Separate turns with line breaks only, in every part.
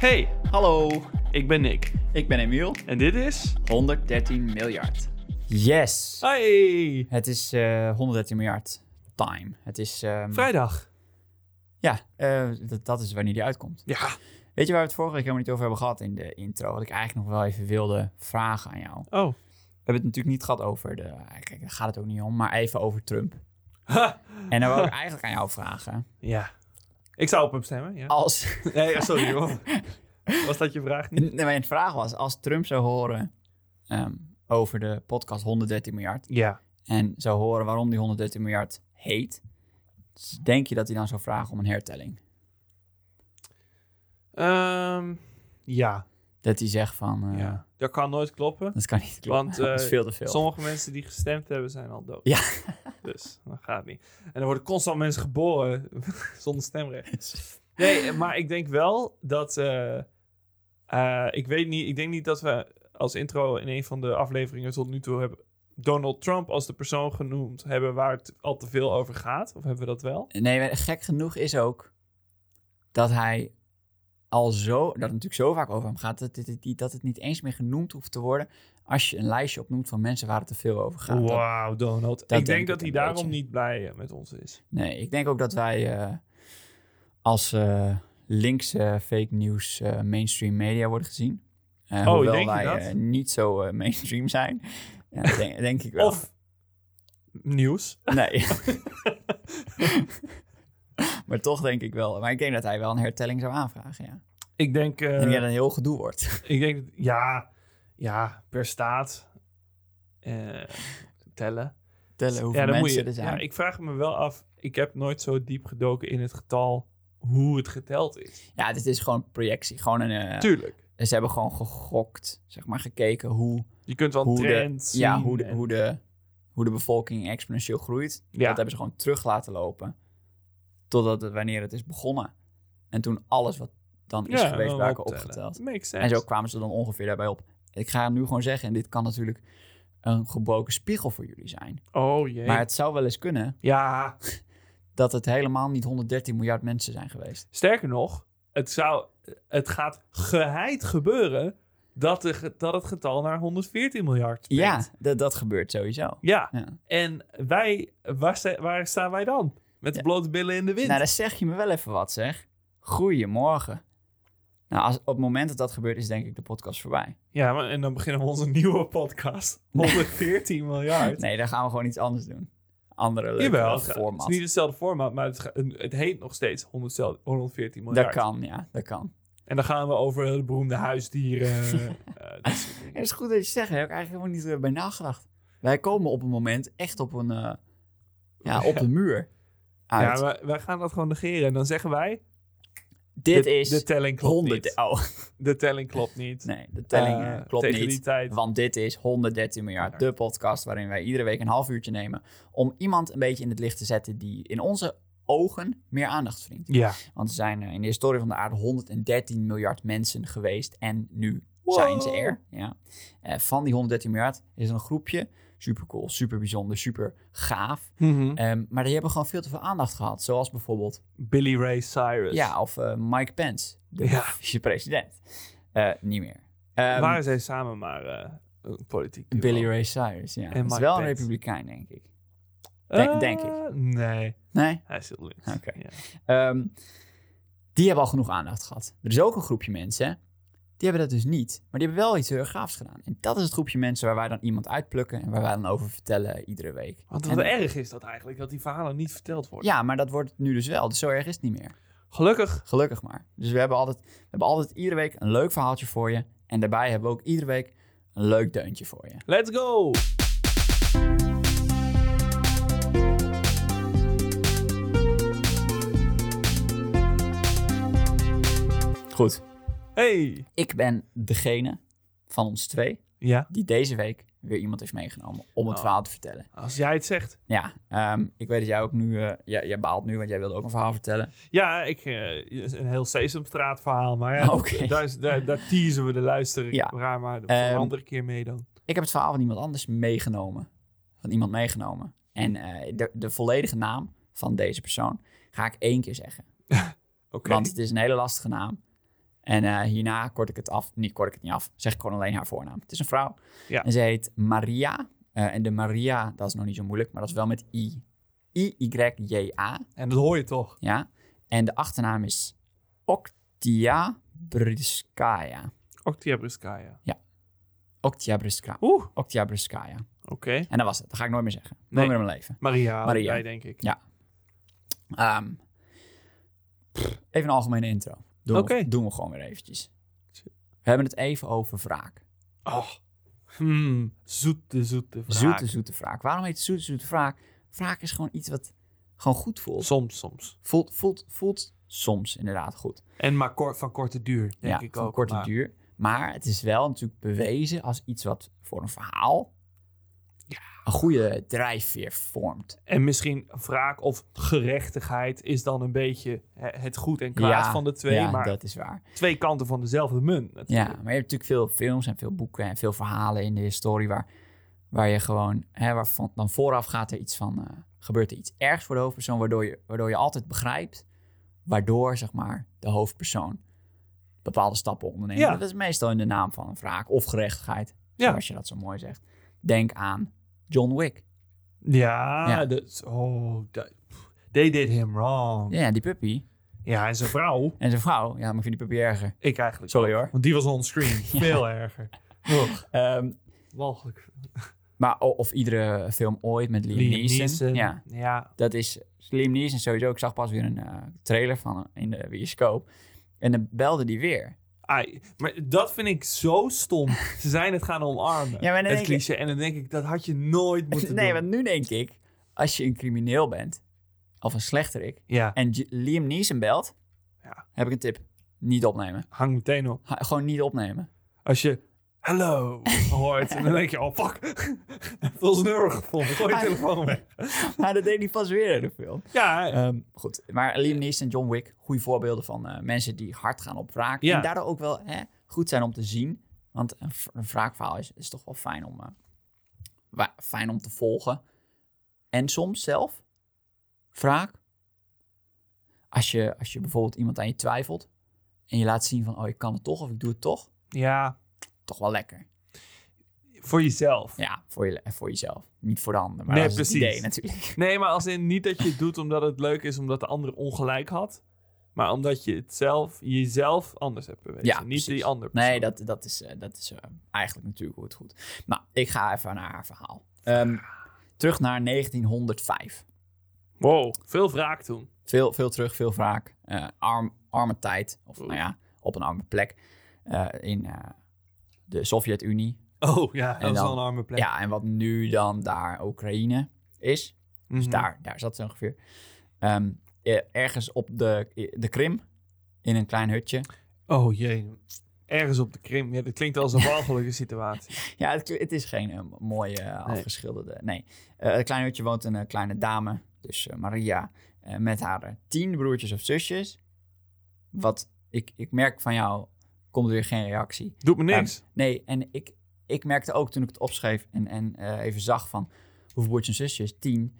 Hey,
Hallo,
ik ben Nick
ik ben Emiel.
en dit is...
113 miljard.
Yes.
Hey,
Het is eh, 113 miljard time. Het is... ehm,
vrijdag.
Ja, eh, dat, dat is wanneer die uitkomt.
Ja.
Weet je waar we het vorige week helemaal niet over hebben gehad in de intro? Wat ik eigenlijk nog wel even wilde vragen aan jou.
Oh.
We hebben het natuurlijk niet gehad over de... eh, Kijk, daar gaat het ook niet om, maar even over Trump. En dan wil ik eigenlijk aan jou vragen.
Ja. Ik zou op hem stemmen, ja.
Als...
Nee, ja, sorry hoor. Was dat je vraag niet?
Nee, Mijn vraag was, als Trump zou horen ehm, over de podcast 113 miljard...
Ja.
en zou horen waarom die 113 miljard heet... denk je dat hij dan zou vragen om een hertelling?
Ehm, ja.
Dat hij zegt van... eh,
ja. Dat kan nooit kloppen.
Dat kan niet kloppen.
Want
dat is
eh,
veel te veel.
sommige mensen die gestemd hebben zijn al dood.
Ja.
Dus dat gaat niet. En er worden constant mensen geboren zonder stemrecht. Nee, eh, maar ik denk wel dat. eh, eh, ik weet niet. Ik denk niet dat we als intro in een van de afleveringen tot nu toe hebben. Donald Trump als de persoon genoemd hebben waar het al te veel over gaat. Of hebben we dat wel?
Nee, maar gek genoeg is ook dat hij al zo, dat het natuurlijk zo vaak over hem gaat, dat het, het- dat het niet eens meer genoemd hoeft te worden als je een lijstje opnoemt van mensen waar het te veel over gaat. Dat-
Wauw, Donald. ik denk,
denk ik
dat hij
een
daarom
beetje.
niet blij eh, met ons is.
nee, ik denk ook dat wij eh, als eh, linkse fake news eh, mainstream media worden gezien. Eh,
Oh,
hoewel
denk je
wij
dat?
eh, niet zo eh, mainstream zijn. Ja, dat denk, denk ik wel.
Of nieuws.
Nee. maar toch denk ik wel. Maar ik denk dat hij wel een hertelling zou aanvragen, ja.
Ik denk. eh,
en dat het een heel gedoe wordt.
Ik denk, dat- ja, ja, per staat eh, tellen.
Tellen hoeveel
dan
mensen
je,
er zijn.
Ja, ik vraag me wel af, ik heb nooit zo diep gedoken in het getal hoe het geteld is.
Ja, dit is gewoon projectie. Gewoon een, eh,
Tuurlijk.
ze hebben gewoon gegokt, zeg maar, gekeken hoe,
Je kunt wel een
Hoe de-
trend zien.
ja, hoe, de,
en-
hoe, de, hoe de bevolking exponentieel groeit.
Ja.
Dat hebben ze gewoon terug laten lopen. Totdat het, wanneer het is begonnen. En toen alles wat dan is
Ja,
geweest,
dan eh,
waren
optellen.
opgeteld.
Makes sense.
En zo kwamen ze dan ongeveer daarbij op. Ik ga nu gewoon zeggen, en dit kan natuurlijk een gebroken spiegel voor jullie zijn.
Oh jee.
Maar het zou wel eens kunnen
Ja,
dat het helemaal niet 113 miljard mensen zijn geweest.
sterker nog, het, zou, het gaat geheid gebeuren dat, de, ge- dat het getal naar 114 miljard springt.
Ja, dat, dat gebeurt sowieso.
Ja,
Ja.
en wij, waar, sta- waar staan wij dan? Met de
Ja.
blote billen in de wind.
Nou, dan zeg je me wel even wat, zeg. Goedemorgen. Nou, als, op het moment dat dat gebeurt, is denk ik de podcast voorbij.
Ja, maar, en dan beginnen we onze nieuwe podcast. 114 miljard.
Nee, dan gaan we gewoon iets anders doen. Andere leuke
Jawel, het gaat- het
format.
is niet hetzelfde format, maar het, ga- het heet nog steeds 100 114 miljard.
Dat kan, ja, dat kan.
En dan gaan we over de beroemde huisdieren. eh, dat soort dingen.
Het is goed dat je het zegt, daar heb ik eigenlijk helemaal niet eh, bij nagedacht. Wij komen op een moment echt op een, eh, ja, op de muur uit.
ja, wij, wij gaan dat gewoon negeren. En dan zeggen wij,
Dit
de,
is
de telling klopt
100...
niet.
Oh,
De telling klopt niet.
nee, de telling
Eh,
eh, klopt
tegen
niet.
die tijd.
Want dit is 113 miljard, de podcast waarin wij iedere week een half uurtje nemen om iemand een beetje in het licht te zetten die in onze ogen meer aandacht verdient.
Ja.
Want er zijn eh, in de historie van de aarde 113 miljard mensen geweest en nu zijn ze er. Ja. Eh, van die 113 miljard is er een groepje, super cool, super bijzonder, super gaaf.
Hm.
Ehm, maar die hebben gewoon veel te veel aandacht gehad. Zoals bijvoorbeeld
Billy Ray Cyrus.
ja, of eh, Mike Pence, de
Ja.
vicepresident. Eh, niet meer. Ehm,
Waren zij samen maar eh, een politiek duo?
Billy Ray Cyrus, ja.
En
Dat is
Mike
wel een
Pence.
republikein, denk ik.
Eh,
Denk- denk ik.
Nee,
Nee?
hij zit links.
Oké.
Ja.
Ehm, die hebben al genoeg aandacht gehad. Er is ook een groepje mensen, die hebben dat dus niet. Maar die hebben wel iets heel erg gaafs gedaan. En dat is het groepje mensen waar wij dan iemand uitplukken... en waar wij dan over vertellen iedere week.
Want wat
En-
erg is dat eigenlijk, dat die verhalen niet verteld worden.
Ja, maar dat wordt het nu dus wel. Dus zo erg is het niet meer.
Gelukkig
Gelukkig maar. Dus we hebben altijd, we hebben altijd iedere week een leuk verhaaltje voor je. En daarbij hebben we ook iedere week een leuk deuntje voor je.
Let's go!
Goed.
Hey!
Ik ben degene van ons twee...
Ja?
die deze week weer iemand heeft meegenomen om het
Oh.
verhaal te vertellen.
Als jij het zegt.
Ja, ehm, ik weet dat jij ook nu, eh, jij, jij baalt nu, want jij wilde ook een verhaal vertellen.
Ja, ik, eh, is een heel Sesamstraat verhaal, maar ja,
Oké.
daar, is- daar, daar teasen we de luisteraar
Ja.
maar voor een
Ehm,
andere keer mee dan.
Ik heb het verhaal van iemand anders meegenomen. Van iemand meegenomen. En eh, de, de volledige naam van deze persoon ga ik één keer zeggen.
Oké.
Want het is een hele lastige naam. En eh, hierna kort ik het af. Niet kort ik het niet af. Zeg ik gewoon alleen haar voornaam. Het is een vrouw.
Ja.
En ze heet Maria. Eh, en de Maria, dat is nog niet zo moeilijk, maar dat is wel met I. I-Y-J-A.
En dat hoor je toch?
Ja. En de achternaam is Oktia Briskaya.
Octia Briskaya.
Oktia Briskaya.
Oeh,
Oktia Briskaya.
oké.
En dat was het. Dat ga ik nooit meer zeggen. Nooit
Nee.
meer in mijn leven.
Maria,
Maria.
jij, denk ik.
Ja. Ehm, pff, even een algemene intro. Doen,
Oké.
we, doen we gewoon weer eventjes. We hebben het even over wraak.
Oh. Hmm, zoete, zoete vraag.
Zoete, zoete wraak. Waarom heet het zoete, zoete wraak? Wraak is gewoon iets wat gewoon goed voelt.
Soms, soms.
Voelt, voelt, voelt soms inderdaad goed.
En maar kort, van korte duur, denk
ja,
ik
van
ook.
korte
maar-
duur. Maar het is wel natuurlijk bewezen als iets wat voor een verhaal een goede drijfveer vormt.
En misschien wraak of gerechtigheid is dan een beetje hè, het goed en kwaad
Ja,
van de twee.
ja,
maar
dat is waar.
twee kanten van dezelfde munt
Ja,
natuurlijk.
maar je hebt natuurlijk veel films en veel boeken en veel verhalen in de historie waar, waar je gewoon, hè, waarvan dan vooraf gaat er iets van, eh, gebeurt er iets ergs voor de hoofdpersoon, waardoor je, waardoor je altijd begrijpt, waardoor zeg maar de hoofdpersoon bepaalde stappen onderneemt.
Ja.
Dat is meestal in de naam van een wraak of gerechtigheid,
Ja.
zoals je dat zo mooi zegt. Denk aan John Wick.
Ja,
Ja.
dat- oh, dat- pff, they did him wrong.
Ja, die puppy
Ja, en zijn vrouw,
en zijn vrouw. Ja, maar ik vind die puppy erger.
ik eigenlijk.
Sorry hoor.
Want die was onscreen, veel erger. Oh,
Ehm,
walgelijk.
maar o- of iedere film ooit met Liam,
Liam Neeson.
Neeson. Ja,
Ja,
Dat is Slim Neeson sowieso. Ik zag pas weer een eh, trailer van hem in de bioscoop. En dan belde die weer.
ai, maar dat vind ik zo stom. Ze zijn het gaan omarmen,
Ja, maar
het
dan denk ik-
cliché. En dan denk ik, dat had je nooit moeten
nee,
doen.
want nu denk ik, als je een crimineel bent, of een slechterik,
Ja,
en J- Liam Neeson belt,
Ja.
heb ik een tip. Niet opnemen.
hang meteen op.
Ha- gewoon niet opnemen.
Als je hello hoort, en dan denk je, oh fuck, veel snurrig gevonden. Gooi je
Ah.
telefoon weg.
maar dat deed hij pas weer in de film.
Ja,
Ehm, goed,
Eh,
maar Liam Neeson en John Wick, goede voorbeelden van eh, mensen die hard gaan op wraak.
Ja.
En daardoor ook wel hè, goed zijn om te zien. Want een, v- een wraakverhaal is, is toch wel fijn om, eh, wa- fijn om te volgen. En soms zelf, wraak. Als je, als je bijvoorbeeld iemand aan je twijfelt en je laat zien van, oh, ik kan het toch of ik doe het toch.
ja,
Toch wel lekker.
voor jezelf.
Ja, voor, je, voor jezelf. Niet voor de ander, maar
Nee,
dat is het
precies.
idee natuurlijk.
Nee, maar als in niet dat je het doet omdat het leuk is, omdat de ander ongelijk had. Maar omdat je het zelf, jezelf anders hebt bewezen.
Ja,
niet
precies.
die ander.
Nee,
persoon.
dat, dat is, eh, dat is eh, eigenlijk natuurlijk hoe het goed. Nou, ik ga even naar haar verhaal. Ehm, terug naar 1905.
Wow, veel wraak toen.
Veel, veel terug, veel wraak. Eh, arm, arme tijd. Of nou ja, op een arme plek. eh, in eh, de Sovjet-Unie.
Oh ja, dat
En
was
dan-
al een arme plek.
Ja, en wat nu dan daar Oekraïne is.
Mhm.
Dus daar, daar zat ze ongeveer. Ehm, eh, ergens op de, de Krim. In een klein hutje.
Oh jee. Ergens op de Krim. Ja, dat klinkt als een walgelijke situatie.
Ja, het, het is geen eh, mooie eh,
Nee.
afgeschilderde. Nee. Eh het kleine hutje woont een eh, kleine dame, dus eh, Maria, eh, met haar eh, tien broertjes of zusjes. Wat ik, ik merk van jou, komt weer geen reactie.
Doet me niks.
Nee, en ik, ik merkte ook toen ik het opschreef en, en eh, even zag van hoeveel broertjes en zusjes, tien.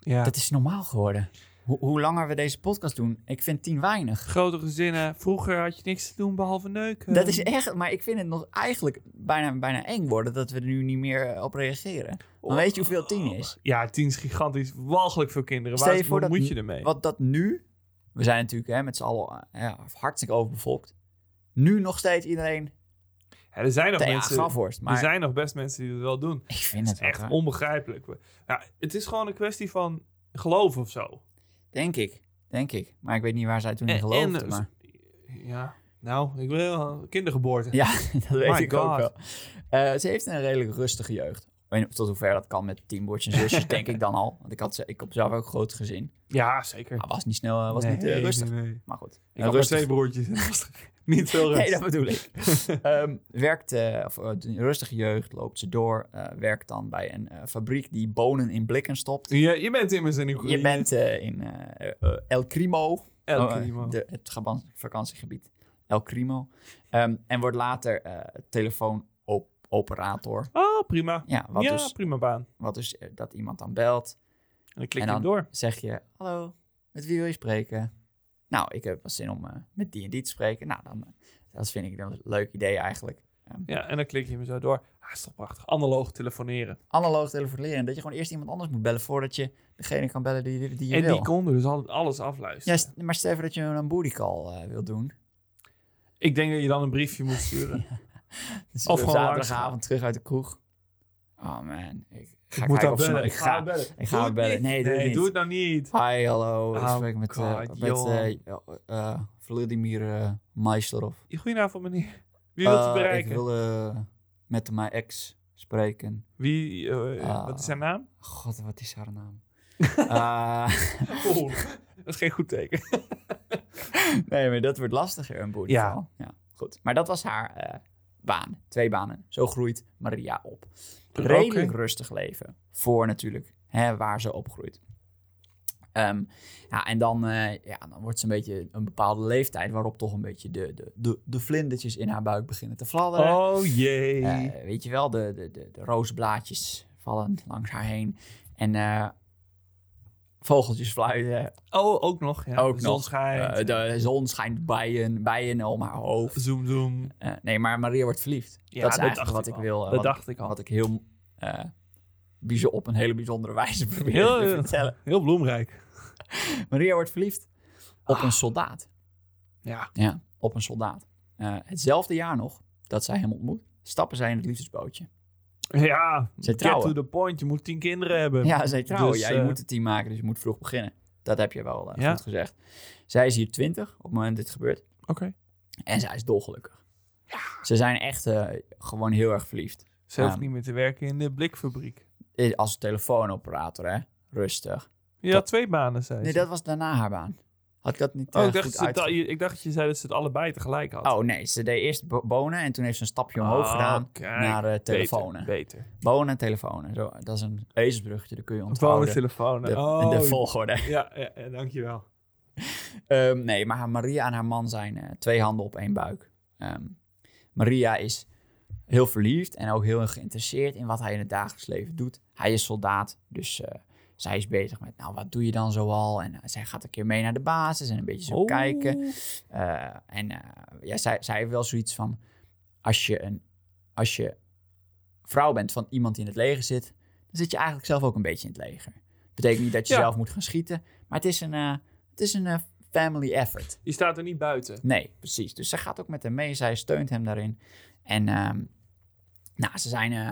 ja.
Dat is normaal geworden. Hoe, hoe langer we deze podcast doen, ik vind tien weinig.
Grote gezinnen. Vroeger had je niks te doen behalve neuken.
Dat is echt, maar ik vind het nog eigenlijk bijna, bijna eng worden dat we er nu niet meer eh, op reageren.
Oh.
Dan weet je hoeveel tien is.
Ja, tien is gigantisch. Walgelijk veel kinderen.
Stel
Waar
je
is-
voor
wat
dat
moet
n-
je ermee?
Wat dat nu, we zijn natuurlijk hè, met z'n allen eh, ja, hartstikke overbevolkt. Nu nog steeds iedereen
Ja, er zijn nog
tegen
mensen.
grafworst. Maar
Er zijn nog best mensen die dat wel doen.
ik vind
Het
het
is echt
echt
onbegrijpelijk. Ja, het is gewoon een kwestie van geloof of zo.
Denk ik, denk ik. Maar ik weet niet waar zij toen in
En-
geloofde.
en-
maar...
Ja, nou, ik wil kindergeboorte.
Ja, dat weet
My
ik
God.
ook wel. Eh, ze heeft een redelijk rustige jeugd. Ik weet niet tot hoever dat kan met tien broertjes en zusjes, denk ik dan al. Want ik had, ze, ik heb zelf ook een groot gezin.
Ja, zeker.
Maar was niet snel, eh, was
Nee,
niet eh,
nee,
rustig.
nee, nee.
Maar goed.
Ik had maar
rustig.
twee broertjes. en dat was Niet veel rust.
Nee, dat bedoel ik. Ehm, werkt, eh, of, eh, een rustige jeugd, loopt ze door. eh, werkt dan bij een eh, fabriek die bonen in blikken stopt.
je, je bent immers in Oekraïne.
Je bent eh, in eh, eh, El Crimo.
El
Oh, eh,
Primo.
de- het geba- vakantiegebied. El Crimo. Ehm, en wordt later eh telefoonoperator.
Oh, prima.
Ja, wat,
ja,
dus,
prima baan.
wat dus eh, dat iemand dan belt.
En dan klik
En
je hem
dan-
door.
Zeg je, hallo, met wie wil je spreken? nou, ik heb wel zin om eh, met die en die te spreken. Nou, dan, eh, dat vind ik dan een leuk idee eigenlijk. Ehm,
Ja, en dan klik je hem zo door. Ah, is toch prachtig. Analoog telefoneren.
Analoog telefoneren, dat je gewoon eerst iemand anders moet bellen voordat je degene kan bellen die, die je
en
wil.
die konden dus al- alles afluisteren.
ja, st- maar stel even dat je een booty call eh, wilt doen.
Ik denk dat je dan een briefje moet sturen.
Dus
Of
op
gewoon
zaterdagavond terug uit de kroeg. Oh man, ik, ga
ik moet
kijken
daar
of ze
bellen.
nog- Ik ga,
bellen.
ik ga
Doe
haar
het
bellen.
niet.
Nee, doe het niet.
doe het nou niet.
Hi, hallo. Ik
Oh
spreek met, eh,
God,
met
joh.
eh, ja, eh, Vladimir eh Meisterov.
Goedenavond, meneer. Wie wilt u
Eh,
bereiken?
Ik wil eh, met mijn ex spreken.
Wie, eh,
Ah.
wat is zijn naam?
God, wat is haar naam? Eh,
Oeh, dat is geen goed teken.
nee, maar dat wordt lastiger, een boerderij.
Ja.
ja. Goed. Maar dat was haar eh, baan. Twee banen. Zo groeit Maria op.
Oké.
redelijk rustig leven. Voor natuurlijk hè, waar ze opgroeit. Ehm, ja, en dan, eh, ja, dan wordt ze een beetje een bepaalde leeftijd waarop toch een beetje de, de, de, de vlindertjes in haar buik beginnen te fladderen.
Oh jee.
Eh, weet je wel, de, de, de, de rozenblaadjes vallen langs haar heen. En eh, vogeltjes fluiten.
oh, ook nog. Ja.
ook
de
nog.
zon schijnt.
Eh, de zon schijnt bijen, bijen om haar hoofd.
zoom, zoom.
Eh, nee, maar Maria wordt verliefd.
Ja,
dat is
dat
eigenlijk
dacht
wat
ik
ik,
al.
wil. eh,
Dat
wat
dacht ik al.
Wat ik heel eh, bijzo- op een hele bijzondere wijze probeer
Ja,
te
ja.
vertellen.
Heel bloemrijk.
Maria wordt verliefd op een soldaat.
Ja.
Ja, op een soldaat. Eh, hetzelfde jaar nog dat zij hem ontmoet, stappen zij in het liefdesbootje.
Ja.
Ze
Get
trouwen.
to the point. Je moet tien kinderen hebben.
Ja, zij trouwen.
Dus,
ja, je
eh,
moet het team maken, dus je moet vroeg beginnen. Dat heb je wel eh,
Ja.
goed gezegd. Zij is hier 20 op het moment dat dit gebeurt.
Oké.
En zij is dolgelukkig. Ze zijn echt eh, gewoon heel erg verliefd.
Ze hoeft
Ja.
niet meer te werken in de blikfabriek.
Eh, Als telefoonoperator, hè. Rustig.
Je had twee banen, zei
Nee,
ze.
dat was daarna haar baan. Had ik dat niet
Oh,
eh,
ik dacht,
goed
dat ze het
uitge-
al- je- ik dacht dat je zei dat ze het allebei tegelijk had. Oh, Ah,
Oh nee, ze deed eerst bo- bonen en toen heeft ze een stapje omhoog gedaan naar eh, telefonen.
Beter.
Bonen en telefonen. Zo, dat is een ezelsbruggetje, dat kun je
Gewone
onthouden.
telefoon.
De,
oh,
de volgorde.
ja, ja, ja, dankjewel.
Ehm, nee, maar haar- Maria en haar man zijn eh, twee handen op één buik. Ehm, Maria is heel verliefd en ook heel erg geïnteresseerd in wat hij in het dagelijks leven doet. Hij is soldaat, dus eh, zij is bezig met, nou, wat doe je dan zoal? En eh, zij gaat een keer mee naar de basis en een beetje zo
Oh.
kijken. Eh, en eh, ja, zij, zij heeft wel zoiets van: als je, een, als je vrouw bent van iemand die in het leger zit, dan zit je eigenlijk zelf ook een beetje in het leger. Betekent niet dat je
Ja.
zelf moet gaan schieten, maar het is een, eh, het is een eh, family effort.
Je staat er niet buiten.
Nee, precies. Dus zij gaat ook met hem mee. Zij steunt hem daarin. En ehm, nou, ze zijn... eh,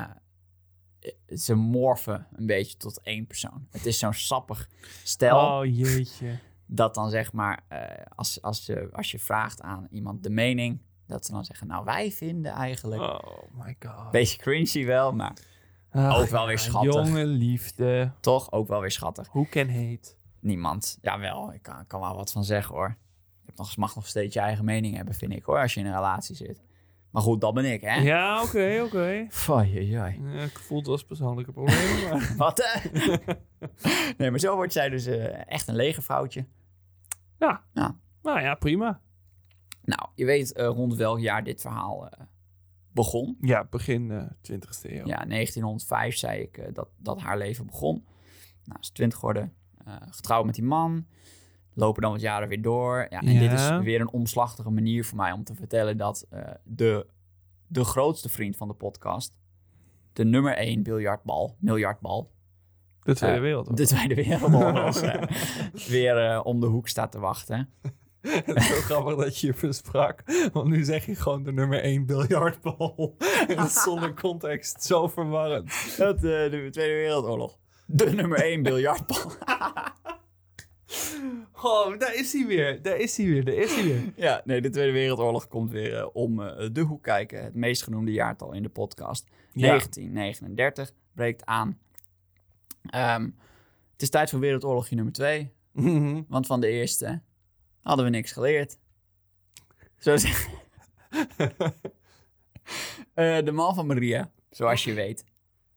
eh, ze morfen een beetje tot één persoon. Het is zo'n sappig stel
Oh, jeetje.
dat dan zeg maar... eh, als, als, je, als je vraagt aan iemand de mening... dat ze dan zeggen, nou wij vinden eigenlijk...
Oh my god.
Beetje cringy wel, maar
Ach,
ook wel weer schattig.
Jonge liefde.
toch ook wel weer schattig.
Who can hate?
Niemand. Jawel, ik kan, kan wel wat van zeggen hoor. Je hebt nog, mag nog steeds je eigen mening hebben, vind ik hoor, als je in een relatie zit. Maar goed, dat ben ik, hè?
Ja, oké, oké.
Foei, joi, joi.
Eh, Ik voel het als persoonlijke problemen. maar-
Wat? hè? nee, maar zo wordt zij dus eh, echt een legervrouwtje.
ja.
Ja.
Nou ja, prima.
Nou, je weet eh, rond welk jaar dit verhaal eh, begon.
Ja, begin eh 20ste eeuw.
Ja, 1905 zei ik eh, dat, dat haar leven begon. Nou, ze is twintig geworden, eh, getrouwd met die man. Lopen dan wat jaren weer door. Ja, en
Ja.
dit is weer een omslachtige manier voor mij om te vertellen dat eh, de, de grootste vriend van de podcast, de nummer één biljartbal, miljardbal,
De Tweede
Eh,
Wereldoorlog.
De Tweede Wereldoorlog. eh, weer eh, om de hoek staat te wachten.
Het is zo grappig dat je je versprak. Want nu zeg je gewoon de nummer 1 biljartbal. En dat is zonder context. Zo verwarrend.
Dat, eh, de Tweede Wereldoorlog. De nummer één biljartbal.
Oh, daar is hij weer. Daar is hij weer. Daar is hij weer.
ja, nee, de Tweede Wereldoorlog komt weer eh, om eh, de hoek kijken. Het meest genoemde jaartal in de podcast.
Ja.
1939 breekt aan. Ehm, het is tijd voor Wereldoorlogje nummer 2.
Mhm.
Want van de eerste hadden we niks geleerd. Zo zeg. Eh, de man van Maria, zoals je weet,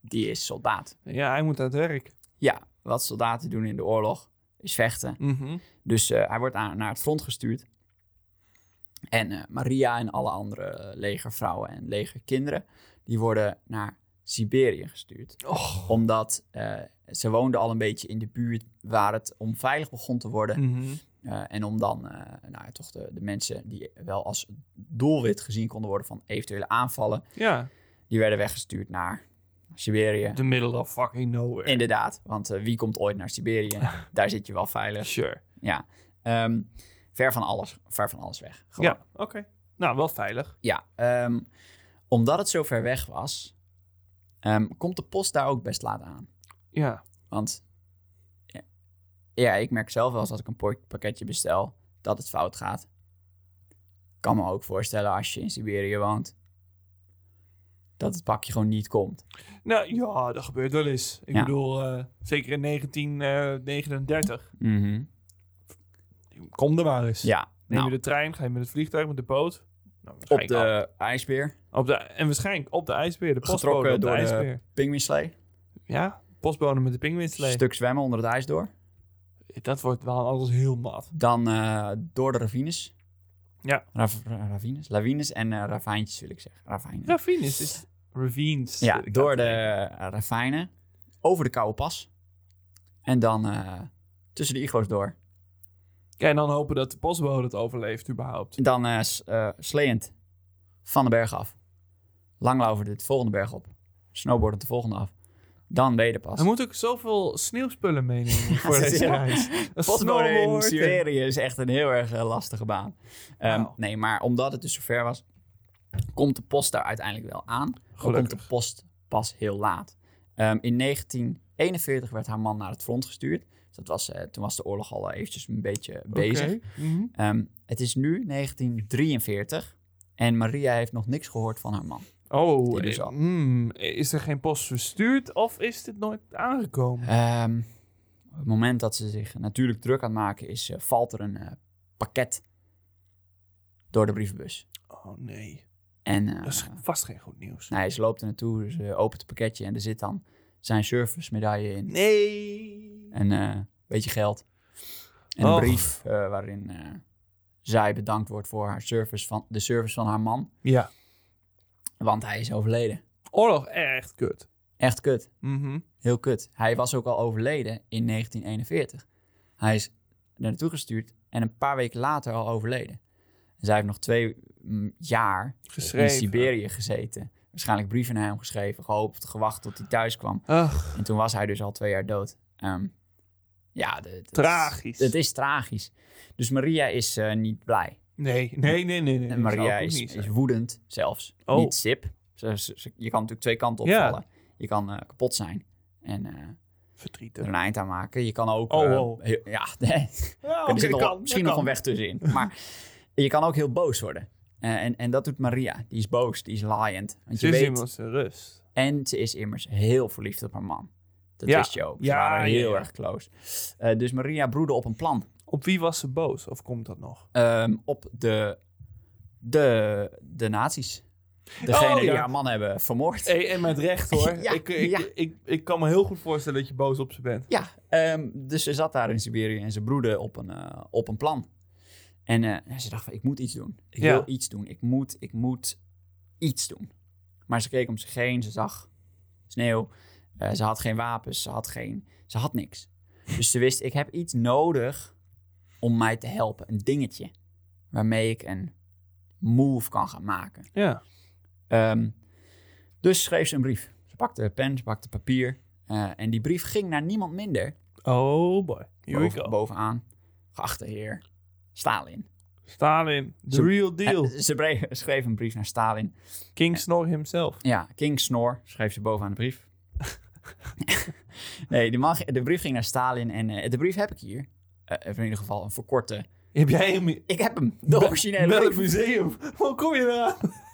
die is soldaat.
ja, hij moet aan het werk.
Ja, wat soldaten doen in de oorlog is vechten.
Mhm.
Dus eh, hij wordt aan- naar het front gestuurd. En eh, Maria en alle andere eh, legervrouwen en legerkinderen, die worden naar Siberië gestuurd.
Och.
Omdat eh, ze woonden al een beetje in de buurt waar het onveilig begon te worden.
Mhm.
Eh, en om dan eh, nou ja, toch de, de mensen die wel als doelwit gezien konden worden van eventuele aanvallen,
Ja,
die werden weggestuurd naar Siberië.
the middle of fucking nowhere.
Inderdaad, want eh, wie komt ooit naar Siberië? Daar zit je wel veilig.
Sure.
Ja. Ehm, ver van alles, ver van alles weg. Gewoon.
Ja, oké. Nou, wel veilig.
Ja, ehm, omdat het zo ver weg was, ehm, komt de post daar ook best laat aan.
Ja.
Want ja, ja, ik merk zelf wel eens als ik een po- pakketje bestel dat het fout gaat. Kan me ook voorstellen als je in Siberië woont, dat het pakje gewoon niet komt.
Nou ja, dat gebeurt wel eens. Ik
Ja.
bedoel, eh, zeker in eh, 1939. Kom er maar eens.
Ja,
Mhm. Neem
nou,
je dus de trein, ga je met het vliegtuig, met de boot. Nou,
op
waarschijnlijk al-
de ijsbeer,
op de... En waarschijnlijk op de ijsbeer. De postbode
getrokken
op de
door de,
ijsbeer.
de pinguïnslee,
Ja, postbode met de pinguïnslee.
stuk zwemmen onder het ijs door.
Dat wordt wel alles heel nat.
Dan eh, door de ravines.
Ja.
Rav- ra- ravines? Lavines en eh, ravijntjes, wil ik zeggen. Ravijnen.
Ravines is... Ravines.
Ja,
Ik
door
had-
de eh, ravijnen, over de Koude Pas. En dan eh, tussen de iglo's door.
Ja, en dan hopen dat de postbode het overleeft überhaupt.
Dan eh, s- eh, sleeënd van de berg af. Langlopen de volgende berg op. Snowboardend de volgende af. Dan ben je er pas.
Hij moet ook zoveel sneeuwspullen meenemen voor
dat is
deze
heel-
reis. Een
Postbode in
snowboard.
Siberië is echt een heel erg eh, lastige baan. Ehm,
Wauw.
Nee, maar omdat het dus zo ver was, komt de post daar uiteindelijk wel aan. Dan komt
Gelukkig.
de post pas heel laat. Ehm, in 1941 werd haar man naar het front gestuurd. Dus dat was, eh, toen was de oorlog al eh, eventjes een beetje bezig.
Oké. Mhm.
Ehm, het is nu 1943 en Maria heeft nog niks gehoord van haar man.
Oh,
Die dus
eh,
al.
mm, is er geen post verstuurd of is dit nooit aangekomen?
Ehm, op het moment dat ze zich natuurlijk druk aan het maken is, eh, valt er een eh, pakket door de brievenbus.
Oh nee,
En eh,
dat is vast geen goed nieuws.
nee, ze loopt er naartoe, ze opent het pakketje en er zit dan zijn servicemedaille in.
Nee.
En eh, een beetje geld. En
Och.
een brief eh, waarin eh, zij bedankt wordt voor haar service van, de service van haar man.
Ja,
Want hij is overleden.
oorlog echt kut.
Echt kut.
Mhm.
Heel kut. Hij was ook al overleden in 1941. Hij is er naartoe gestuurd en een paar weken later al overleden. En zij heeft nog twee mm, jaar in
Geschreven.
Siberië gezeten. Waarschijnlijk brieven naar hem geschreven, gehoopt, gewacht tot hij thuis kwam.
Ach,
En toen was hij dus al twee jaar dood. Ehm, ja, de- dat is-
tragisch.
Het is tragisch. Dus Maria is eh, niet blij.
Nee, nee, nee, nee. nee.
En
dat zou
Maria
ik ook
is,
niet
is
zeggen.
woedend zelfs.
Oh.
Niet sip. Ze- ze- ze- je kan natuurlijk twee kanten
Ja.
opvallen. Je kan eh, kapot zijn en eh, er
verdrietig.
een eind aan maken. Je kan ook...
Oh,
eh,
oh.
heel- ja, nee.
Ja,
er
oké,
zit nog,
Oh, dat kan,
misschien
dat
nog
kan.
een weg tussenin. Maar je kan ook heel boos worden. Eh, en, en dat doet Maria. Die is boos, die is laaiend. Want
Ze
je
is
weet,
immers de rust.
en ze is immers heel verliefd op haar man. Dat
Ja.
wist je ook. Ze
Ja,
waren heel
ja, ja.
erg close. Eh, dus Maria broedde op een plan.
Op wie was ze boos of komt dat nog?
ehm, op de, de, de nazi's. Degene
Oh,
die
ja.
haar man hebben vermoord.
Hey, en met recht hoor.
Ja,
ik, ik,
ja.
ik, ik, kan me heel goed voorstellen dat je boos op ze bent.
Ja, ehm, dus ze zat daar in Siberië en ze broedde op een, eh, op een plan. En eh, ze dacht van, ik moet iets doen. Ik
Ja.
wil iets doen. Ik moet, ik moet iets doen. Maar ze keek om zich heen, ze zag sneeuw. Eh, ze had geen wapens, ze had, geen, ze had niks. Dus ze wist, ik heb iets nodig om mij te helpen. Een dingetje waarmee ik een move kan gaan maken.
Ja.
Ehm, dus schreef ze een brief. Ze pakte pen, ze pakte papier. eh, en die brief ging naar niemand minder
Oh boy. Here we
boven-
go.
bovenaan. Geachte heer Stalin.
Stalin. The
Zo-
real deal.
Eh, ze bre- schreef een brief naar Stalin.
King Snor himself.
Ja, King Snor schreef ze bovenaan de brief. nee, de, man, de brief ging naar Stalin en eh, de brief heb ik hier. Eh, of in ieder geval een verkorte.
Heb jij hem...
Ik heb hem, de originele
Wel
brief.
het museum. Hoe kom je eraan?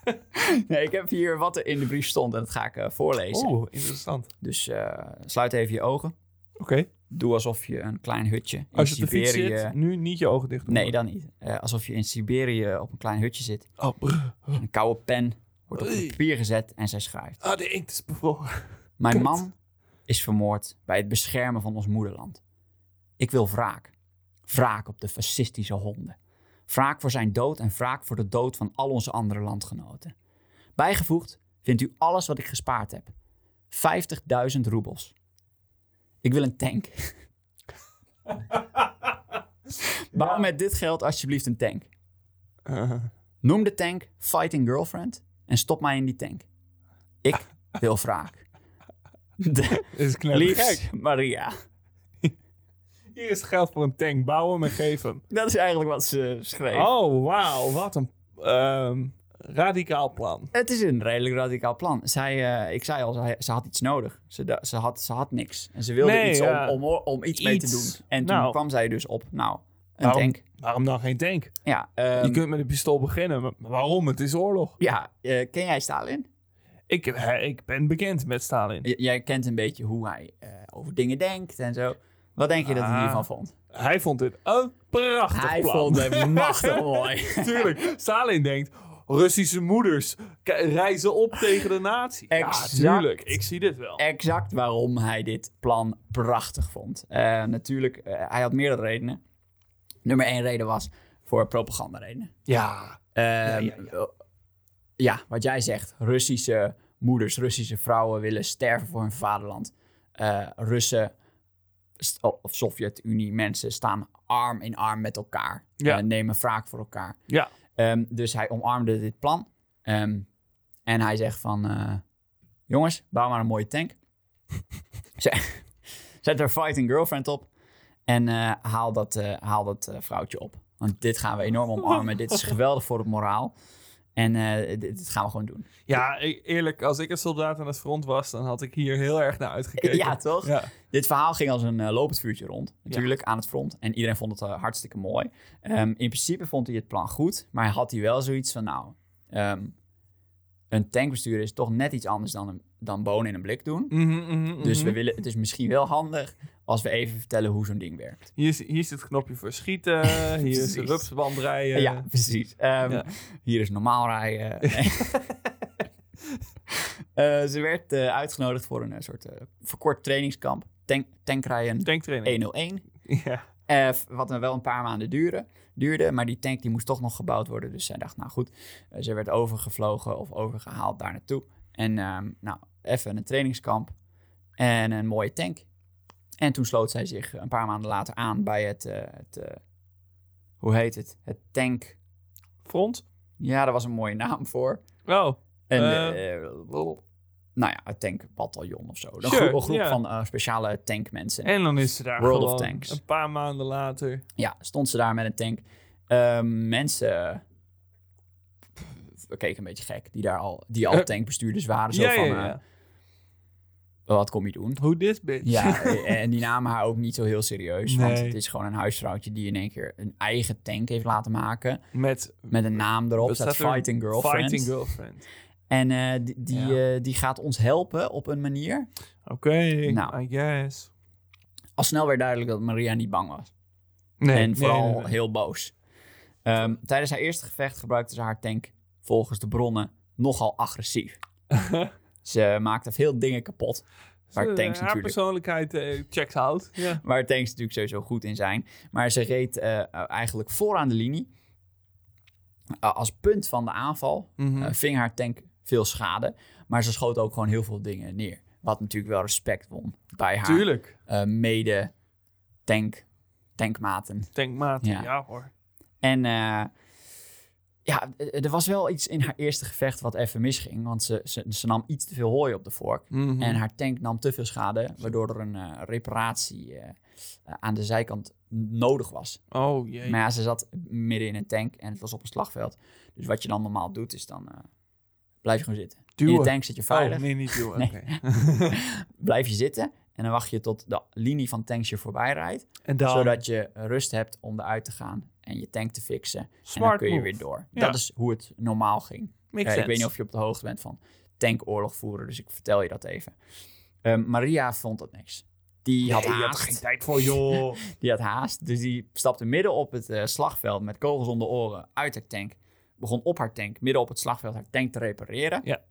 Nee, ik heb hier wat er in de brief stond en dat ga ik eh, voorlezen.
Oh, interessant.
Dus eh, sluit even je ogen.
Oké.
Doe alsof je een klein hutje in
Als je op de fiets
Siberië... eh.
zit, nu niet je ogen dicht doen.
nee, dan niet. Eh, alsof je in Siberië op een klein hutje zit.
Oh, brr.
Een koude pen wordt op
Oei.
papier gezet en zij schrijft.
Ah, de inkt is bevroren.
Mijn
Kut.
man is vermoord bij het beschermen van ons moederland. Ik wil wraak. Wraak op de fascistische honden. Wraak voor zijn dood en wraak voor de dood van al onze andere landgenoten. Bijgevoegd vindt u alles wat ik gespaard heb. 50.000 roebels. Ik wil een tank. Bouw met dit geld alsjeblieft een tank.
Eh,
Noem de tank Fighting Girlfriend en stop mij in die tank. Ik wil wraak. De
dit is knettergek.
liefst Maria.
Hier is geld voor een tank. Bouw hem en geef hem.
Dat is eigenlijk wat ze schreef.
Oh, wauw. Wat een ehm, radicaal plan.
Het is een redelijk radicaal plan. Zij, eh, ik zei al, zij- ze had iets nodig. Ze, da- ze, had, ze had niks. En ze wilde
Nee,
iets om-
ja.
om, om, iets mee te
Iets.
doen. En toen
Nou.
kwam zij dus op, nou, een
Waarom?
tank.
Waarom dan geen tank?
Ja,
Je
ehm,
kunt met een pistool beginnen. Maar waarom? Het is oorlog.
ja eh, ken jij Stalin?
Ik, eh, ik ben bekend met Stalin.
J- jij kent een beetje hoe hij eh, over dingen denkt en zo. Wat denk je dat hij
Ah.
hiervan vond?
Hij vond dit een prachtig
Hij
plan.
vond het machtig mooi.
Tuurlijk. Stalin denkt... Russische moeders k- rijzen op tegen de nazi.
Exact.
Ja, tuurlijk. Ik zie dit wel.
exact waarom hij dit plan prachtig vond. Eh, natuurlijk, eh, hij had meerdere redenen. Nummer één reden was voor propagandaredenen.
Ja.
Ehm,
ja, ja.
eh, ja, wat jij zegt. Russische moeders, Russische vrouwen willen sterven voor hun vaderland. Eh, Russen st- of Sovjet-Unie mensen staan arm in arm met elkaar.
Ja.
Eh, nemen wraak voor elkaar.
Ja.
Ehm, dus hij omarmde dit plan. Ehm, en hij zegt van... eh, jongens, bouw maar een mooie tank. Zet- Zet er fighting girlfriend op. En eh, haal dat, eh, haal dat eh, vrouwtje op. Want dit gaan we enorm omarmen. dit is geweldig voor het moraal. En eh, dit, dit gaan we gewoon doen.
Ja, e- eerlijk. Als ik een soldaat aan het front was... dan had ik hier heel erg naar uitgekeken.
Ja, toch?
Ja.
Dit verhaal ging als een eh, lopend vuurtje rond. Natuurlijk aan het front. En iedereen vond het eh, hartstikke mooi. Ehm, in principe vond hij het plan goed. Maar had hij wel zoiets van, nou... ehm, een tank besturen is toch net iets anders dan, een, dan bonen in een blik doen.
Mhm, mhm, mhm.
Dus we willen, het is misschien wel handig als we even vertellen hoe zo'n ding werkt.
Hier, is, hier is het knopje voor schieten. Hier is de
Precies.
rupsband rijden.
ja, precies. Ehm,
Ja.
Hier is normaal rijden. Eh, ze werd eh, uitgenodigd voor een eh, soort eh, verkort trainingskamp. Tank, tankrijden
Tanktraining.
101.
Ja.
Eh, f- wat wel een paar maanden duurde, duurde. Maar die tank die moest toch nog gebouwd worden. Dus zij dacht, nou goed. Eh, ze werd overgevlogen of overgehaald daar naartoe. En ehm, nou, even een trainingskamp. En een mooie tank. En toen sloot zij zich een paar maanden later aan bij het... eh, het eh, hoe heet het? Het tank...
Front.
Ja, daar was een mooie naam voor.
Oh.
En,
Eh.
eh, nou ja, het tankbataljon of zo. Een
Sure,
groep, een groep
ja.
van eh, speciale tankmensen.
En dan is ze daar
World of
gewoon
Tanks.
een paar maanden later.
Ja, stond ze daar met een tank. Ehm, mensen we keken een beetje gek, die daar al, die al
Eh.
tankbestuurders waren. Zo
Ja,
van,
ja, ja.
eh, wat kom je doen?
Hoe dit bitch?
Ja, eh, en die namen haar ook niet zo heel serieus. Want
Nee.
het is gewoon een huisvrouwtje die in één keer een eigen tank heeft laten maken.
Met...
Met een naam erop,
wat
staat
staat er?
Fighting Girlfriend.
Fighting Girlfriend.
En eh, die, die,
Ja.
eh, die gaat ons helpen op een manier.
Oké,
Nou.
I guess.
Al snel werd duidelijk dat Maria niet bang was.
Nee,
en
nee,
vooral
nee, nee.
heel boos. Ehm, tijdens haar eerste gevecht gebruikte ze haar tank, volgens de bronnen, nogal agressief. ze maakte veel dingen kapot, waar
Ze-
tanks
haar
natuurlijk,
persoonlijkheid eh, checks out. Ja.
waar tanks natuurlijk sowieso goed in zijn. Maar ze reed eh, eh, eigenlijk vooraan de linie. Eh, als punt van de aanval
Mhm.
eh, ving haar tank veel schade, maar ze schoot ook gewoon heel veel dingen neer. Wat natuurlijk wel respect won bij haar
Tuurlijk.
eh, mede tank, tankmaten.
Tankmaat. Ja.
Ja.
hoor.
En eh, ja, eh, er was wel iets in haar eerste gevecht wat even misging. Want ze, ze, ze nam iets te veel hooi op de vork.
Mhm.
En haar tank nam te veel schade, waardoor er een eh, reparatie eh, eh, aan de zijkant nodig was.
Oh jee.
Maar ja, ze zat midden in een tank en het was op een slagveld. Dus wat je dan normaal doet, is dan eh, blijf je gewoon zitten. In
Duwen.
de tank zit je
Oh,
veilig,
nee, niet duwen.
Nee.
Oké.
blijf je zitten. En dan wacht je tot de linie van tanks je voorbij rijdt.
En dan...
Zodat je rust hebt om eruit te gaan en je tank te fixen.
Smart
en dan kun je
move.
weer door.
Ja.
Dat is hoe het normaal ging.
Makes
Eh, ik
sense.
weet niet of je op de hoogte bent van tankoorlog voeren, dus ik vertel je dat even. Ehm, Maria vond dat niks. Die had
Nee, je had er
haast.
geen tijd voor, joh.
Die had haast. Dus die stapte midden op het eh, slagveld met kogels onder oren uit haar tank. Begon op haar tank, midden op het slagveld, haar tank te repareren.
Ja.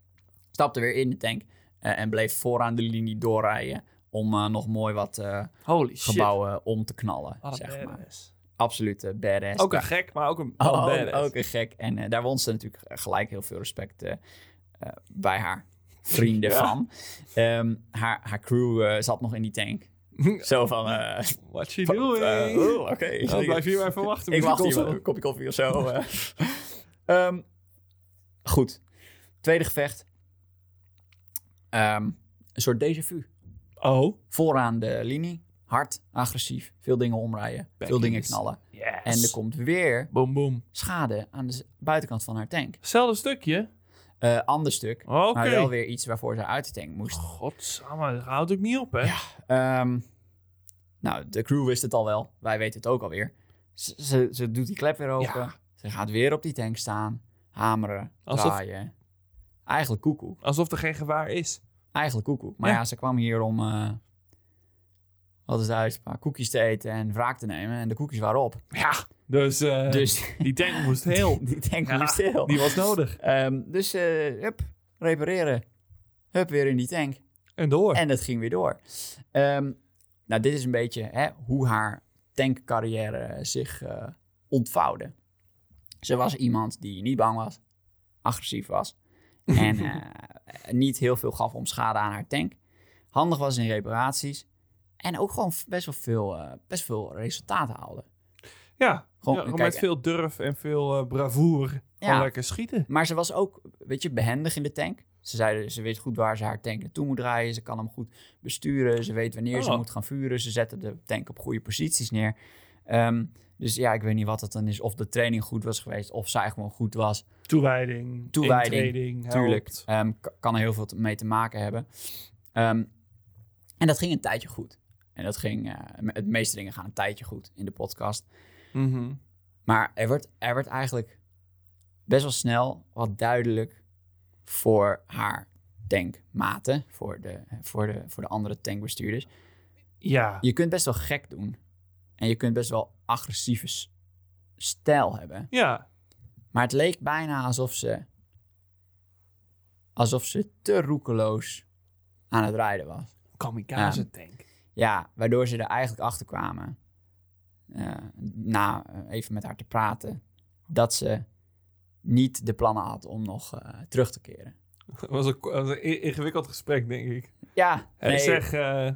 Stapte weer in de tank eh, en bleef vooraan de linie doorrijden om eh, nog mooi wat eh,
Holy shit.
gebouwen om te knallen,
Wat een
zeg maar.
badass.
Absolute badass.
Ook een gek, maar ook een,
Oh,
een
ook-
badass.
ook een gek. En eh, daar won ze natuurlijk gelijk heel veel respect eh, eh, bij haar vrienden
Ja.
van. Ehm, haar, haar crew eh, zat nog in die tank. Zo van, eh,
What she
van,
doing?
eh, oh, oké.
Nou, blijf hier maar even wachten.
Ik
met die
wacht hier wel,
console.
een kopje koffie of zo. eh. Ehm, goed. Tweede gevecht. Ehm, een soort déjà vu.
Oh.
Vooraan de linie. Hard, agressief. Veel dingen omrijden. Veel
Backings.
dingen knallen.
Yes.
En er komt weer
Boom, boom.
schade aan de z- buitenkant van haar tank.
Hetzelfde stukje.
Eh, ander stuk.
Oké.
Maar wel weer iets waarvoor ze uit de tank moest.
Godsamme, dat houdt ook niet op, hè?
Ja. Ehm, nou, de crew wist het al wel. Wij weten het ook alweer. Ze, ze, ze doet die klep weer open.
Ja.
Ze gaat weer op die tank staan. Hameren,
Alsof-
draaien. Eigenlijk koekoek.
Alsof er geen gewaar is.
Eigenlijk koekoek. Maar ja,
Ja.
ze kwam hier om... eh, wat is de uitspraak? Koekjes te eten en wraak te nemen. En de koekjes waren op.
Ja. Dus, eh,
dus
die tank moest heel.
die tank
Ja,
moest stil.
Die was nodig.
Ehm, dus, eh hup, repareren. Hup, weer in die tank.
En door.
En het ging weer door. Ehm, nou, dit is een beetje hè, hoe haar tankcarrière eh, zich eh, ontvouwde. Ze was iemand die niet bang was, agressief was en eh, niet heel veel gaf om schade aan haar tank. Handig was in reparaties en ook gewoon best wel veel, eh, best veel resultaten haalde.
ja.
Gewoon,
Ja, gewoon
kijk,
met veel durf en veel eh, bravoure. Gewoon
Ja.
lekker schieten.
Maar ze was ook, weet je, behendig in de tank. Ze, zeiden, ze weet goed waar ze haar tank naartoe moet draaien. Ze kan hem goed besturen. Ze weet wanneer ze
Oh.
moet gaan vuren. Ze zetten de tank op goede posities neer. Ehm, dus ja, ik weet niet wat het dan is. Of de training goed was geweest. Of zij gewoon goed was.
Toewijding.
Toewijding,
intreding, helpt.
Tuurlijk. Ehm, k- kan er heel veel te- mee te maken hebben. Ehm, en dat ging een tijdje goed. En dat ging, eh, me- het meeste dingen gaan een tijdje goed in de podcast.
Mhm.
Maar er werd, er werd eigenlijk best wel snel wat duidelijk voor haar tankmaten, voor de, voor, de, voor de andere tankbestuurders.
Ja.
Je kunt best wel gek doen. En je kunt best wel agressieve s- stijl hebben.
Ja.
Maar het leek bijna alsof ze, alsof ze te roekeloos aan het rijden was.
Kamikaze tank.
Ja, waardoor ze er eigenlijk achter kwamen. eh, na eh, even met haar te praten. Dat ze niet de plannen had om nog eh, terug te keren.
Dat was een, was een in- ingewikkeld gesprek, denk ik.
Ja,
Hij
nee,
zeg, eh,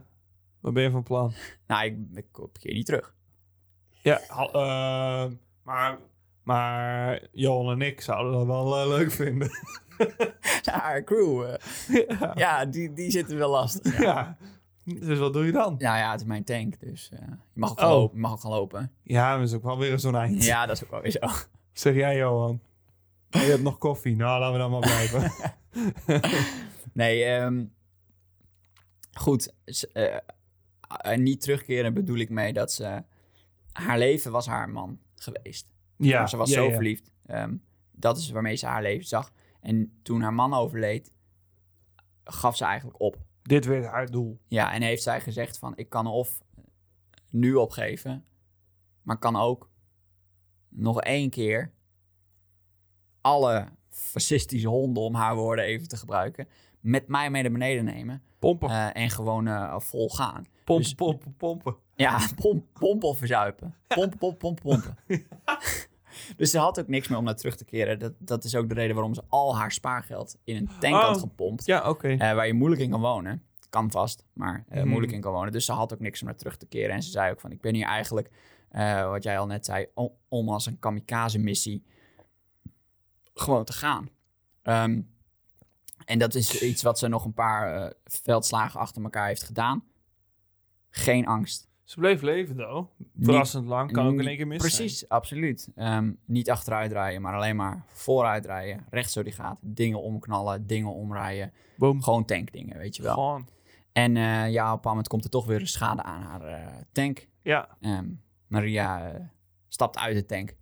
wat ben je van plan?
nou, ik, ik, ik keer niet terug.
Ja, hal- eh, maar, maar Johan en ik zouden dat wel eh, leuk vinden.
Ja, haar crew, eh,
ja.
ja, die, die zitten wel lastig. Ja.
Oh. ja. Dus wat doe je dan?
Nou ja, het is mijn tank, dus eh, je mag ook,
Oh.
gaan lopen, je mag ook gaan lopen.
Ja, dat is ook wel weer zo'n eind.
Ja, dat is ook wel weer zo.
Zeg jij, Johan. Je hebt nog koffie. Nou, laten we dan maar blijven.
Nee, ehm, goed. ze- eh, eh, niet terugkeren bedoel ik mee dat ze... Haar leven was haar man geweest.
ja,
ze was
ja,
zo
ja.
verliefd. Ehm, dat is waarmee ze haar leven zag. En toen haar man overleed, gaf ze eigenlijk op.
Dit werd haar doel.
Ja, en heeft zij gezegd van... Ik kan of nu opgeven, maar kan ook nog één keer... alle fascistische honden, om haar woorden even te gebruiken... met mij mee naar beneden nemen...
Pompen,
Eh, en gewoon eh, vol gaan.
pompen,
dus-
pompen, pompen.
Ja, pomp, pompen of verzuipen. Pompen, pompen, pompen, pompen. dus ze had ook niks meer om naar terug te keren. Dat, dat is ook de reden waarom ze al haar spaargeld in een tank had
Oh.
gepompt.
Ja, oké.
eh, waar je moeilijk in kan wonen. Kan vast, maar eh,
Mhm.
moeilijk in kan wonen. Dus ze had ook niks om naar terug te keren. En ze zei ook van, ik ben hier eigenlijk, eh, wat jij al net zei, o- om als een kamikaze missie gewoon te gaan. Ehm, en dat is iets wat ze nog een paar eh, veldslagen achter elkaar heeft gedaan. Geen angst.
Ze bleef leven, though.
Niet-
Verrassend lang. Kan ook in
niet-
één keer mis zijn.
Precies, absoluut. Ehm, niet achteruit draaien, maar alleen maar vooruit rijden. Rechts zo die gaat. Dingen omknallen, dingen omrijden.
Boom.
Gewoon tankdingen, weet je wel.
Gewoon.
En eh, ja, op een bepaald moment komt er toch weer schade aan haar eh, tank.
Ja.
Ehm, Maria eh, stapt uit de tank.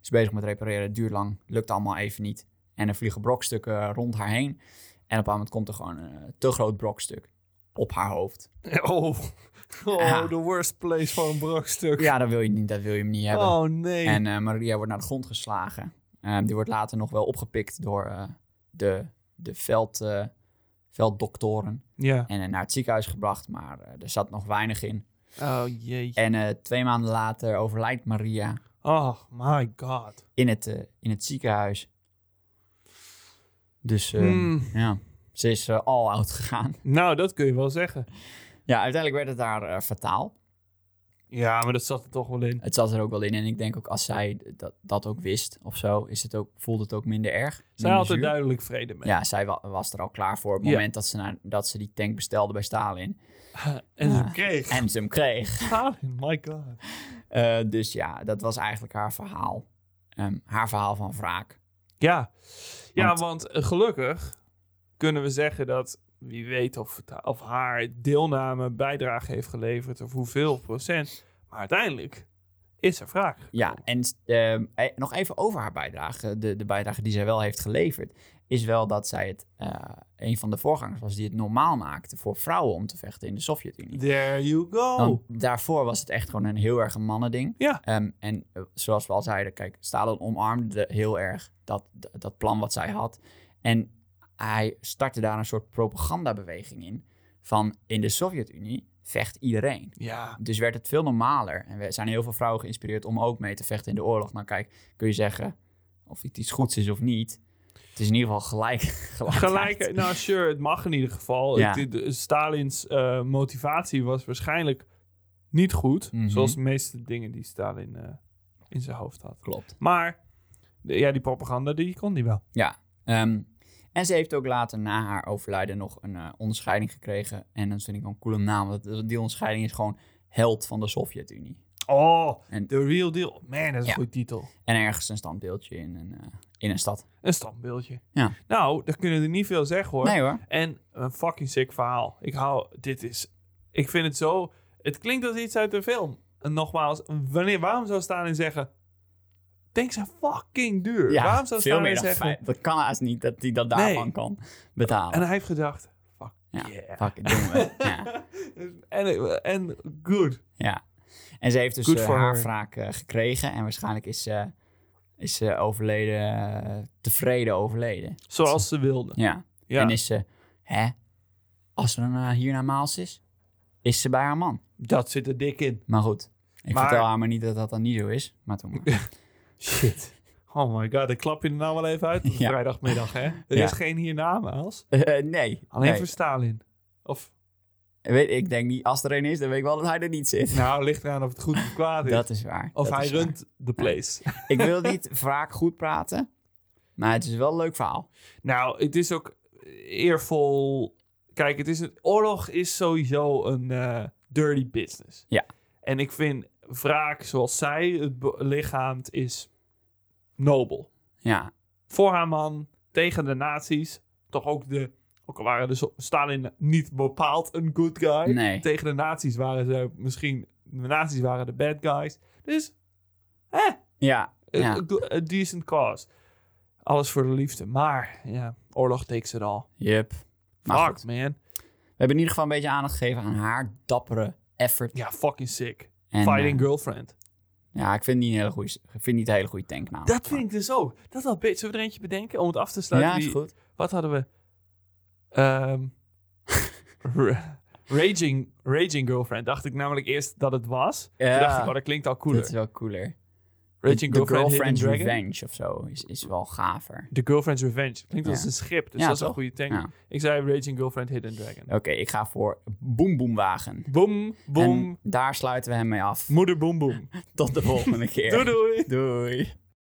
Is bezig met repareren, duurt lang, lukt allemaal even niet. En er vliegen brokstukken eh, rond haar heen. En op een bepaald moment komt er gewoon een eh, te groot brokstuk op haar hoofd.
Oh.
Ja.
Oh, the worst place voor een brokstuk.
Ja, dat wil je niet, dat wil je hem niet hebben.
Oh, nee.
En eh, Maria wordt naar de grond geslagen. Ehm, die wordt later nog wel opgepikt door eh, de, de veld, eh, velddoktoren.
Ja.
En eh, naar het ziekenhuis gebracht, maar eh, er zat nog weinig in.
Oh, jee.
En eh, twee maanden later overlijdt Maria
Oh, my god.
in het, eh, in het ziekenhuis. Dus eh,
Hmm.
Ehm. ja, ze is eh, al oud gegaan.
Nou, dat kun je wel zeggen.
Ja, uiteindelijk werd het daar eh, fataal.
Ja, maar dat zat er toch wel in.
Het zat er ook wel in. En ik denk ook als zij dat, dat ook wist of zo, is het ook, voelde het ook minder erg.
Zij
minder
had er
zuur.
duidelijk vrede mee.
Ja, zij wa- was er al klaar voor op het
Ja.
moment dat ze, naar, dat ze die tank bestelde bij Stalin.
En
Ja.
ze kreeg.
En ze hem kreeg.
Stalin, my god.
Eh, dus ja, dat was eigenlijk haar verhaal. Ehm, haar verhaal van wraak.
Ja, ja
Want-
want, eh, gelukkig kunnen we zeggen dat wie weet of, het- of haar deelname bijdrage heeft geleverd of hoeveel procent. Maar uiteindelijk is er vraag.
Ja, en ehm, eh, nog even over haar bijdrage. De, de bijdrage die zij wel heeft geleverd. Is wel dat zij het, eh, een van de voorgangers was die het normaal maakte voor vrouwen om te vechten in de Sovjet-Unie.
There you go.
Want daarvoor was het echt gewoon een heel erg een mannending.
Oh. Ja.
Ehm, en eh, zoals we al zeiden, kijk, Stalin omarmde heel erg dat, dat- dat plan wat zij had. En hij startte daar een soort propagandabeweging in. Van in de Sovjet-Unie vecht iedereen.
Ja,
Dus werd het veel normaler. En we zijn heel veel vrouwen geïnspireerd om ook mee te vechten in de oorlog. Nou kijk, kun je zeggen of het iets goeds is of niet. Het is in ieder geval gelijk. gelijkheid.
gelijk. Nou, sure, het mag in ieder geval.
Ja.
Het- de- Stalins eh, motivatie was waarschijnlijk niet goed.
Mhm.
Zoals de meeste dingen die Stalin eh, in zijn hoofd had.
Klopt.
Maar de- ja, die propaganda, die kon die wel.
Ehm, en ze heeft ook later na haar overlijden nog een eh, onderscheiding gekregen. En dat vind ik wel een coole naam. Want die onderscheiding is gewoon held van de Sovjet-Unie.
Oh,
En-
The Real Deal. Man, dat is
Ja.
een goed titel.
En ergens een standbeeldje in een, eh, in een stad.
Een standbeeldje.
Ja.
Nou, daar kunnen we niet veel zeggen hoor.
Nee hoor.
En een fucking sick verhaal. Ik hou, dit is, ik vind het zo, het klinkt als iets uit een film. En nogmaals, wanneer, waarom zou Stalin zeggen, tanks zijn fucking duur. waarom zou
veel
Stalin
meer dan
zeggen,
vijf. Dat kan haast niet dat hij dat
Nee.
daarvan kan betalen.
en hij heeft gedacht, fuck
Ja,
yeah.
Fuck it, doen we. ja.
en, en good.
ja. En ze heeft dus
Good
eh,
for
haar
her.
wraak eh, gekregen. En waarschijnlijk is ze is, ze overleden, eh, tevreden overleden.
Zoals ze wilde.
Ja.
Ja.
En is ze, hè, als ze dan eh, hier naar Maals is, is ze bij haar man.
Dat zit er dik in.
Maar goed, ik
Maar-
vertel haar maar niet dat dat dan niet zo is. Maar toen maar.
Shit. Oh my god, ik klap je er nou wel even uit op
Ja.
vrijdagmiddag, hè? Er
Ja.
is geen hiernamaals.
Eh, nee.
Alleen
Nee.
voor Stalin. Of,
Weet, ik denk niet, als er een is, dan weet ik wel dat hij er niet zit.
nou, ligt eraan of het goed of kwaad is.
Dat is waar.
Of
dat
hij
is waar.
runt de place.
Ik wil niet vaak goed praten, maar het is wel een leuk verhaal.
nou, het is ook eervol. Kijk, het is een, oorlog is sowieso een eh, dirty business.
Ja.
En ik vind wraak zoals zij het be- lichaamt is nobel.
Ja,
Voor haar man, tegen de nazi's. Toch ook de. Ook al waren de so- Stalin niet bepaald een good guy.
nee.
Tegen de nazi's waren ze misschien. De nazi's waren de bad guys. Dus. hè,
Ja, Ja.
A, a- a decent cause. Alles voor de liefde. Maar ja, oorlog takes it all.
yep. Maar
Fuck,
goed,
man.
we hebben in ieder geval een beetje aandacht gegeven aan haar dappere effort.
Ja, fucking sick.
En,
Fighting
eh,
girlfriend.
ja, ik vind het niet een hele goede, ik vind het niet een hele goede tanknaam.
Dat vind ik dus ook. Dat had beter. Zullen we er eentje bedenken om het af te sluiten?
Ja, is
Die-
goed.
Wat hadden we? Ehm, ra- raging, raging girlfriend. Dacht ik namelijk eerst dat het was.
Ja.
Toen dacht ik, oh, dat klinkt al cooler.
Dat is wel cooler.
Raging
de, de
girlfriend, Hidden
Girlfriend's
Dragon.
Revenge of zo is, is wel gaver.
The girlfriend's revenge. Klinkt
Ja.
als een schip, dus
Ja,
dat is een
toch?
goede tank.
Ja.
Ik zei raging girlfriend, hidden dragon.
Oké, ik ga voor Boom Boom Wagen.
Boom, boom,
En daar sluiten we hem mee af.
moeder boom boom.
Tot de volgende keer.
Doei doei.
Doei.